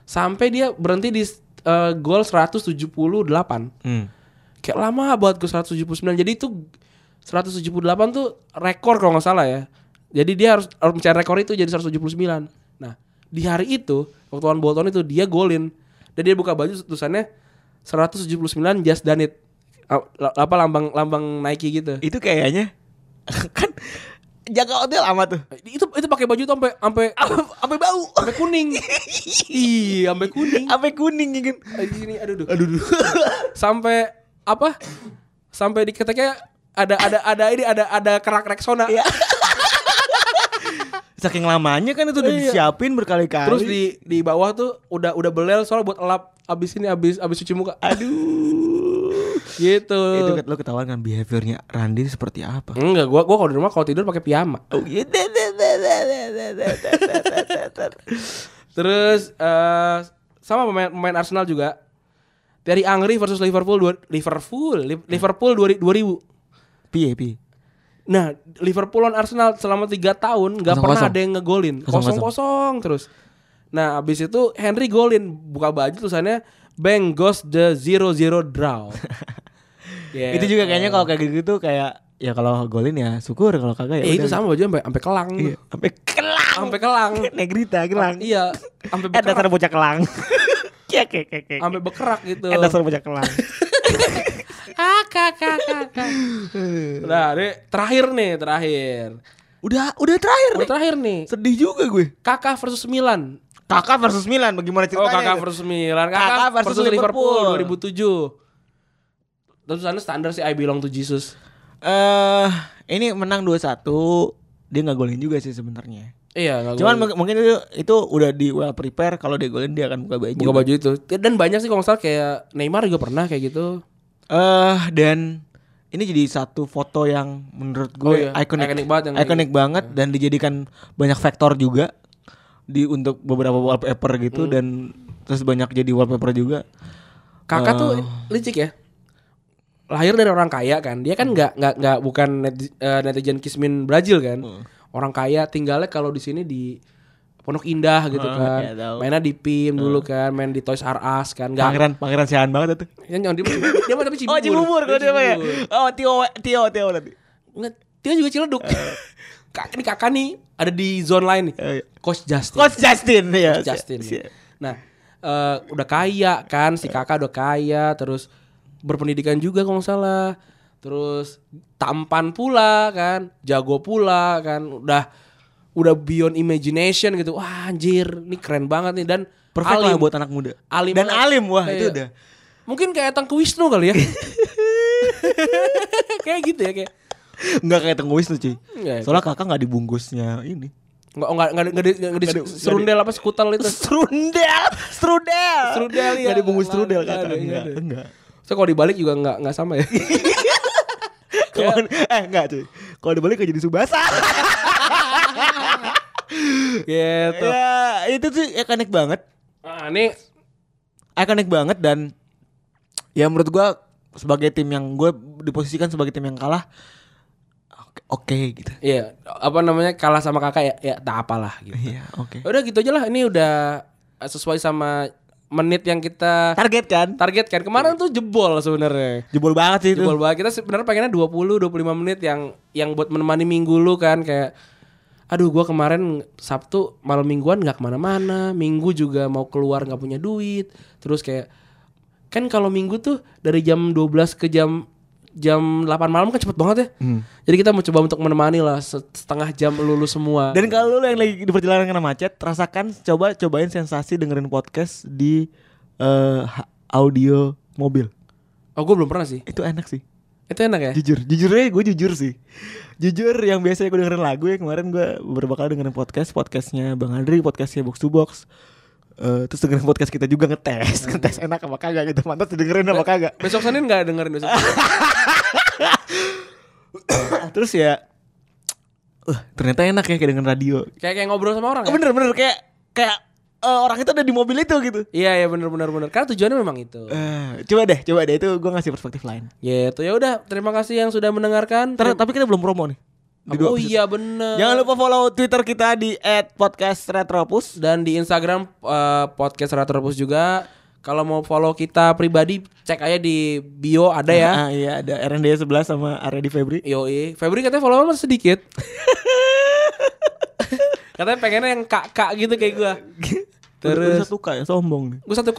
[SPEAKER 2] Sampai dia berhenti di eh, gol 178.
[SPEAKER 3] Hmm.
[SPEAKER 2] Kayak lama buat gue 179. Jadi itu 178 tuh rekor kalau nggak salah ya. Jadi dia harus, harus mencari rekor itu jadi 179. Nah, di hari itu waktu lawan Bolton itu dia golin dan dia buka baju tulisannya 179 just done it. A- apa lambang lambang Nike gitu.
[SPEAKER 3] Itu kayaknya kan jaga hotel sama tuh.
[SPEAKER 2] Itu itu pakai baju tuh sampai sampai
[SPEAKER 3] Apa bau?
[SPEAKER 2] sampai kuning. Iya, sampai kuning.
[SPEAKER 3] Apa kuning ya kan?
[SPEAKER 2] Di sini aduh duh.
[SPEAKER 3] Aduh. duh.
[SPEAKER 2] Sampai apa? Sampai di keteknya ada ada ada ini ada ada kerak reksona.
[SPEAKER 3] Iya. Saking lamanya kan itu udah
[SPEAKER 2] Iya.
[SPEAKER 3] disiapin berkali-kali.
[SPEAKER 2] Terus di di bawah tuh udah udah belel soal buat elap abis ini abis abis cuci muka
[SPEAKER 3] aduh.
[SPEAKER 2] gitu.
[SPEAKER 3] itu ket- lo ketahuan kan behaviornya Randy seperti apa?
[SPEAKER 2] Enggak, gua gua kalau di rumah kalau tidur pakai piyama.
[SPEAKER 3] Oh, iya.
[SPEAKER 2] Terus eh sama pemain pemain Arsenal juga. Dari Angri versus Liverpool dua, Liverpool Li- Liverpool 2000.
[SPEAKER 3] Piye, piye.
[SPEAKER 2] Nah, Liverpool lawan Arsenal selama 3 tahun nggak pernah
[SPEAKER 3] 0-0.
[SPEAKER 2] ada yang ngegolin.
[SPEAKER 3] 0-0.
[SPEAKER 2] Kosong-kosong terus. Nah, abis itu Henry golin buka baju tulisannya Bang goes the 0-0 draw. Yeah.
[SPEAKER 3] Itu juga kayaknya kalau kayak gitu kayak ya kalau golin ya syukur kalau kagak ya.
[SPEAKER 2] Eh, itu
[SPEAKER 3] udah.
[SPEAKER 2] sama baju sampai sampai kelang.
[SPEAKER 3] Iya, Sampai kelang.
[SPEAKER 2] Sampai kelang.
[SPEAKER 3] Negrita kelang.
[SPEAKER 2] iya, sampai
[SPEAKER 3] Eh dasar
[SPEAKER 2] bekerak,
[SPEAKER 3] bocah kelang. Iya, Kek kek kek. kek.
[SPEAKER 2] sampai bekerak gitu.
[SPEAKER 3] Eh dasar bocah kelang.
[SPEAKER 2] Ah, kak, kak, kak, kak. Nah, ini terakhir nih, terakhir.
[SPEAKER 3] udah udah terakhir.
[SPEAKER 2] Udah
[SPEAKER 3] nih.
[SPEAKER 2] terakhir nih.
[SPEAKER 3] Sedih juga gue.
[SPEAKER 2] Kakak versus Milan.
[SPEAKER 3] Kakak versus Milan bagaimana
[SPEAKER 2] Oh,
[SPEAKER 3] ceritanya?
[SPEAKER 2] kakak
[SPEAKER 3] itu?
[SPEAKER 2] versus Milan.
[SPEAKER 3] Kakak
[SPEAKER 2] Kakak,
[SPEAKER 3] versus
[SPEAKER 2] versus, Liverpool,
[SPEAKER 3] Liverpool.
[SPEAKER 2] 2007. Terus sana standar sih I belong to Jesus.
[SPEAKER 3] Eh, ini menang 2-1. Dia nggak golin juga sih sebenarnya.
[SPEAKER 2] Iya, nggak
[SPEAKER 3] Cuman
[SPEAKER 2] gua-
[SPEAKER 3] mung- mungkin itu, itu udah di well prepare kalau dia golin dia akan buka baju.
[SPEAKER 2] buka baju itu. Dan banyak sih kalau nggak salah kayak Neymar juga pernah kayak gitu.
[SPEAKER 3] Eh, dan ini jadi satu foto yang menurut
[SPEAKER 2] Oh
[SPEAKER 3] gue
[SPEAKER 2] iya,
[SPEAKER 3] ikonik
[SPEAKER 2] iconic banget yang Iya. kayak
[SPEAKER 3] iconic banget dan dijadikan banyak faktor juga di untuk beberapa wallpaper
[SPEAKER 2] Hmm.
[SPEAKER 3] gitu dan terus banyak jadi wallpaper juga.
[SPEAKER 2] Kakak tuh
[SPEAKER 3] Eh.
[SPEAKER 2] licik ya. Lahir dari orang kaya kan. Dia
[SPEAKER 3] Hmm.
[SPEAKER 2] kan nggak nggak nggak bukan neti- eh, netizen kismin Brazil kan.
[SPEAKER 3] Hmm.
[SPEAKER 2] Orang kaya tinggalnya kalau di sini di Pondok Indah gitu
[SPEAKER 3] Oh,
[SPEAKER 2] kan.
[SPEAKER 3] iya tahu. Hmm.
[SPEAKER 2] Mainnya di PIM dulu kan, main di Toys R Us kan. Enggak.
[SPEAKER 3] Pangeran pangeran siahan banget itu.
[SPEAKER 2] Dia, dia, dia mah tapi Cibubur.
[SPEAKER 3] Oh, Cibubur
[SPEAKER 2] Iya,
[SPEAKER 3] kalau dia mah ya.
[SPEAKER 2] Cibubur.
[SPEAKER 3] Oh, Tio Tio Tio nanti.
[SPEAKER 2] Nggak, Dia juga Ciledug. Kak, ini kakak nih ada di zone lain nih.
[SPEAKER 3] Eh, iya.
[SPEAKER 2] Coach Justin.
[SPEAKER 3] Coach Justin ya.
[SPEAKER 2] Justin.
[SPEAKER 3] Si- si-
[SPEAKER 2] Nah, eh, udah kaya kan si kakak udah kaya, terus berpendidikan juga kalau nggak salah, terus tampan pula kan, jago pula kan, udah udah beyond imagination gitu. Wah anjir, ini keren banget nih dan
[SPEAKER 3] Perfect lah
[SPEAKER 2] alim.
[SPEAKER 3] buat anak muda.
[SPEAKER 2] Alim
[SPEAKER 3] dan
[SPEAKER 2] banget.
[SPEAKER 3] alim wah
[SPEAKER 2] Iya.
[SPEAKER 3] itu udah.
[SPEAKER 2] Mungkin kayak Tangku Wisnu kali ya. kayak gitu ya kayak
[SPEAKER 3] Enggak kayak Tengku Wisnu cuy.
[SPEAKER 2] Nggak,
[SPEAKER 3] Soalnya kakak nggak dibungkusnya ini.
[SPEAKER 2] nggak nggak nggak nggak di, nggak di serundel apa skutal itu.
[SPEAKER 3] Strudel, strudel.
[SPEAKER 2] Strudel, iya.
[SPEAKER 3] Nggak dibungkus
[SPEAKER 2] Nggak
[SPEAKER 3] strudel
[SPEAKER 2] ada, nggak
[SPEAKER 3] kakak.
[SPEAKER 2] ada, nggak
[SPEAKER 3] Enggak,
[SPEAKER 2] ada.
[SPEAKER 3] enggak.
[SPEAKER 2] So kalau dibalik juga nggak nggak sama ya.
[SPEAKER 3] Kalau eh enggak cuy. Kalau dibalik kayak jadi subasa.
[SPEAKER 2] gitu.
[SPEAKER 3] ya, itu tuh ikonik banget.
[SPEAKER 2] Nah, ini
[SPEAKER 3] Ikonik banget dan ya menurut gua sebagai tim yang gue diposisikan sebagai tim yang kalah oke oke gitu.
[SPEAKER 2] Iya, apa namanya kalah sama kakak ya, ya tak apalah gitu.
[SPEAKER 3] Iya, oke.
[SPEAKER 2] Udah gitu aja lah, ini udah eh, sesuai sama menit yang kita
[SPEAKER 3] Target kan?
[SPEAKER 2] targetkan. Kemarin tuh jebol sebenarnya.
[SPEAKER 3] Jebol banget sih itu.
[SPEAKER 2] Jebol banget. Kita sebenarnya pengennya 20 25 menit yang yang buat menemani minggu lu kan kayak aduh gua kemarin Sabtu malam mingguan nggak kemana mana minggu juga mau keluar nggak punya duit. Terus kayak kan kalau minggu tuh dari jam 12 ke jam jam 8 malam kan cepet banget ya. Jadi kita mau coba untuk menemani lah se- setengah jam lulu semua.
[SPEAKER 3] Dan kalau lu yang lagi di perjalanan karena macet, rasakan coba cobain sensasi dengerin podcast di eh, ha- audio mobil.
[SPEAKER 2] oh, gue belum pernah sih.
[SPEAKER 3] Itu enak sih.
[SPEAKER 2] Itu enak ya?
[SPEAKER 3] Jujur, jujurnya gue jujur sih. Jujur yang biasanya gue dengerin lagu ya kemarin gue beberapa kali dengerin podcast, podcastnya Bang Andri, podcastnya Box to Box. Eh, terus dengerin podcast kita juga ngetes, ngetes enak apa kagak gitu. Mantap dengerin apa kagak.
[SPEAKER 2] Besok Senin nggak dengerin besok. Senin.
[SPEAKER 3] Terus ya eh, ternyata enak ya kayak dengerin radio.
[SPEAKER 2] kayak kayak ngobrol sama orang. ya?
[SPEAKER 3] Bener-bener kayak kayak eh, orang itu ada di mobil itu gitu.
[SPEAKER 2] Iya ya benar benar benar. Karena tujuannya memang itu.
[SPEAKER 3] Eh, coba deh, coba deh itu gue ngasih perspektif lain.
[SPEAKER 2] Gitu. Ya udah, terima kasih yang sudah mendengarkan.
[SPEAKER 3] Ntar, tapi kita belum promo nih. Di dua
[SPEAKER 2] Iya. oh
[SPEAKER 3] episode. Ya.
[SPEAKER 2] iya bener.
[SPEAKER 3] Jangan lupa follow Twitter kita di @podcastretropus.
[SPEAKER 2] dan di Instagram eh, podcast Retropus juga. Kalau mau follow kita pribadi, cek aja di bio ada ya.
[SPEAKER 3] Ah, iya ada RND 11 sama Aredi Febri.
[SPEAKER 2] Yoi, Febri katanya follow masih sedikit. katanya pengennya yang kak-kak gitu kayak gua. Terus
[SPEAKER 3] Terus satu ya sombong.
[SPEAKER 2] gua 1,9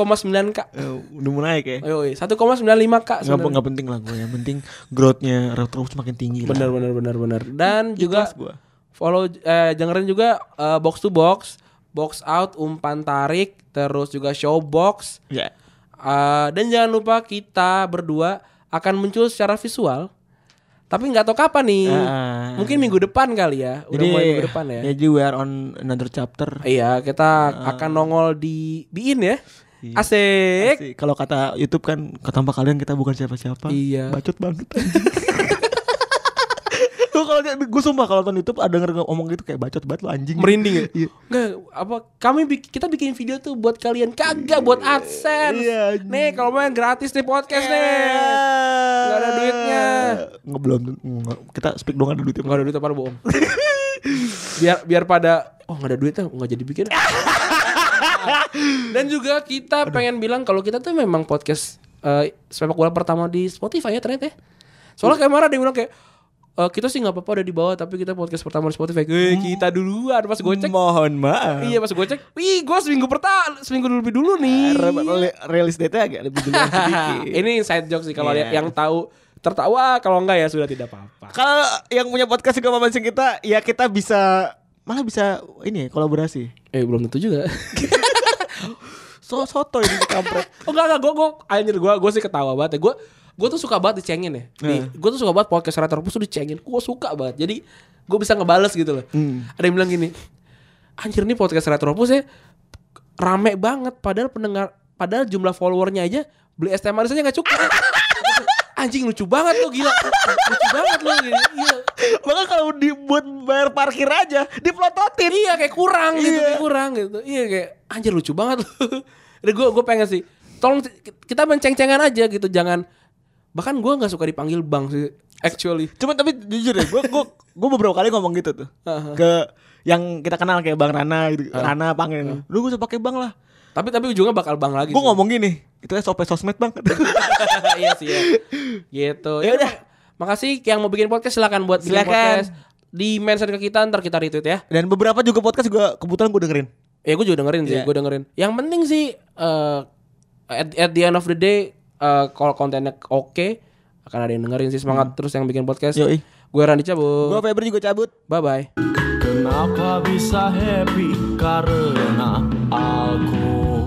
[SPEAKER 2] kak.
[SPEAKER 3] Eh, udah mau naik ya.
[SPEAKER 2] Yoi, 1,95 kak.
[SPEAKER 3] Nggak,
[SPEAKER 2] Oh, iya, sebenarnya.
[SPEAKER 3] nggak penting lah gue yang penting growth-nya Retropus makin tinggi lah.
[SPEAKER 2] Bener bener bener bener. Dan juga
[SPEAKER 3] Ikhlas gua.
[SPEAKER 2] follow eh, dengerin juga eh, box to box, box out, umpan tarik, terus juga showbox.
[SPEAKER 3] Ya.
[SPEAKER 2] Eh, dan jangan lupa kita berdua akan muncul secara visual. Tapi nggak tahu kapan nih.
[SPEAKER 3] Ah.
[SPEAKER 2] Mungkin minggu depan kali ya. Udah mulai minggu depan ya.
[SPEAKER 3] Jadi iya. we are on another chapter.
[SPEAKER 2] Iya, kita
[SPEAKER 3] Ah.
[SPEAKER 2] akan nongol di Biin ya. Asik.
[SPEAKER 3] Iya. Asik. Kalau kata YouTube kan tanpa kalian kita bukan siapa-siapa.
[SPEAKER 2] Iya.
[SPEAKER 3] Bacot banget. anjing. Lu kalau gue sumpah kalau nonton YouTube ada denger ngomong gitu kayak bacot banget lo anjing.
[SPEAKER 2] Merinding ya?
[SPEAKER 3] Iya.
[SPEAKER 2] Nggak, apa kami bik- kita bikin video tuh buat kalian kagak buat AdSense.
[SPEAKER 3] Iya, anjing. Iya.
[SPEAKER 2] nih kalau main gratis nih podcast nih. Nggak ada duitnya.
[SPEAKER 3] Nggak belum nggak. kita speak dong ada duitnya.
[SPEAKER 2] Enggak ada duit apa bohong. biar biar pada oh nggak ada duitnya nggak jadi bikin. Dan juga kita pengen bilang kalau kita tuh memang podcast eh, sepak bola pertama di Spotify ya ternyata. ya. Soalnya kayak marah dia bilang kayak "Eh, kita sih nggak apa-apa udah di bawah tapi kita podcast pertama di Spotify. Eh, kita duluan pas gue cek.
[SPEAKER 3] Mohon maaf.
[SPEAKER 2] Iya pas gue cek, wih gue seminggu pertama, seminggu lebih dulu nih.
[SPEAKER 3] Rilis data agak lebih dulu sedikit.
[SPEAKER 2] Ini inside joke sih kalau lihat
[SPEAKER 3] Iya.
[SPEAKER 2] yang tahu tertawa, kalau enggak ya sudah tidak apa-apa.
[SPEAKER 3] Kalau yang punya podcast juga memancing kita, ya kita bisa malah bisa ini ya, kolaborasi.
[SPEAKER 2] Eh belum tentu juga.
[SPEAKER 3] So soto ini kampret.
[SPEAKER 2] oh enggak enggak gue gue anjir gue gue sih ketawa banget. Gue gue tuh suka banget dicengin ya. Gue tuh suka banget podcast Retropus tuh dicengin. Gue suka banget. Jadi gue bisa ngebales gitu loh. Ada yang bilang gini, anjir nih podcast Retropus ya rame banget. Padahal pendengar, padahal jumlah followernya aja beli es teh manis aja nggak cukup. Anjing lucu banget lo gila. lucu banget lo gini. Iya. Gila.
[SPEAKER 3] Bahkan kalau dibuat bayar parkir aja diplototin.
[SPEAKER 2] Iya kayak kurang gitu,
[SPEAKER 3] Iya.
[SPEAKER 2] kayak kurang gitu. Iya kayak anjir lucu banget lu. Udah gue gue pengen sih. Tolong t- kita menceng-cengan aja gitu, jangan bahkan gue nggak suka dipanggil bang sih actually.
[SPEAKER 3] Cuman tapi jujur ya, gue gue gue beberapa kali ngomong gitu tuh
[SPEAKER 2] Aha.
[SPEAKER 3] ke yang kita kenal kayak Bang Rana gitu. Rana panggil, lu gue usah pakai Bang lah.
[SPEAKER 2] Tapi tapi ujungnya bakal bang lagi.
[SPEAKER 3] Gue
[SPEAKER 2] sih.
[SPEAKER 3] ngomong gini, itu SOP sosmed Bang.
[SPEAKER 2] iya sih ya. Gitu.
[SPEAKER 3] Ya udah.
[SPEAKER 2] Makasih yang mau bikin podcast silakan buat bikin
[SPEAKER 3] Silakan.
[SPEAKER 2] podcast. Di mention ke kita ntar kita retweet ya.
[SPEAKER 3] Dan beberapa juga podcast juga kebetulan gue dengerin.
[SPEAKER 2] Ya gue juga dengerin sih,
[SPEAKER 3] Iya.
[SPEAKER 2] gue dengerin. Yang penting sih eh, at, at the end of the day eh, kalau kontennya oke akan ada yang dengerin sih semangat terus yang bikin podcast.
[SPEAKER 3] Hmm. Yoi.
[SPEAKER 2] Gue Randy Cabut.
[SPEAKER 3] Gue Febri juga cabut.
[SPEAKER 2] Bye bye.
[SPEAKER 5] Kenapa bisa happy? Karena aku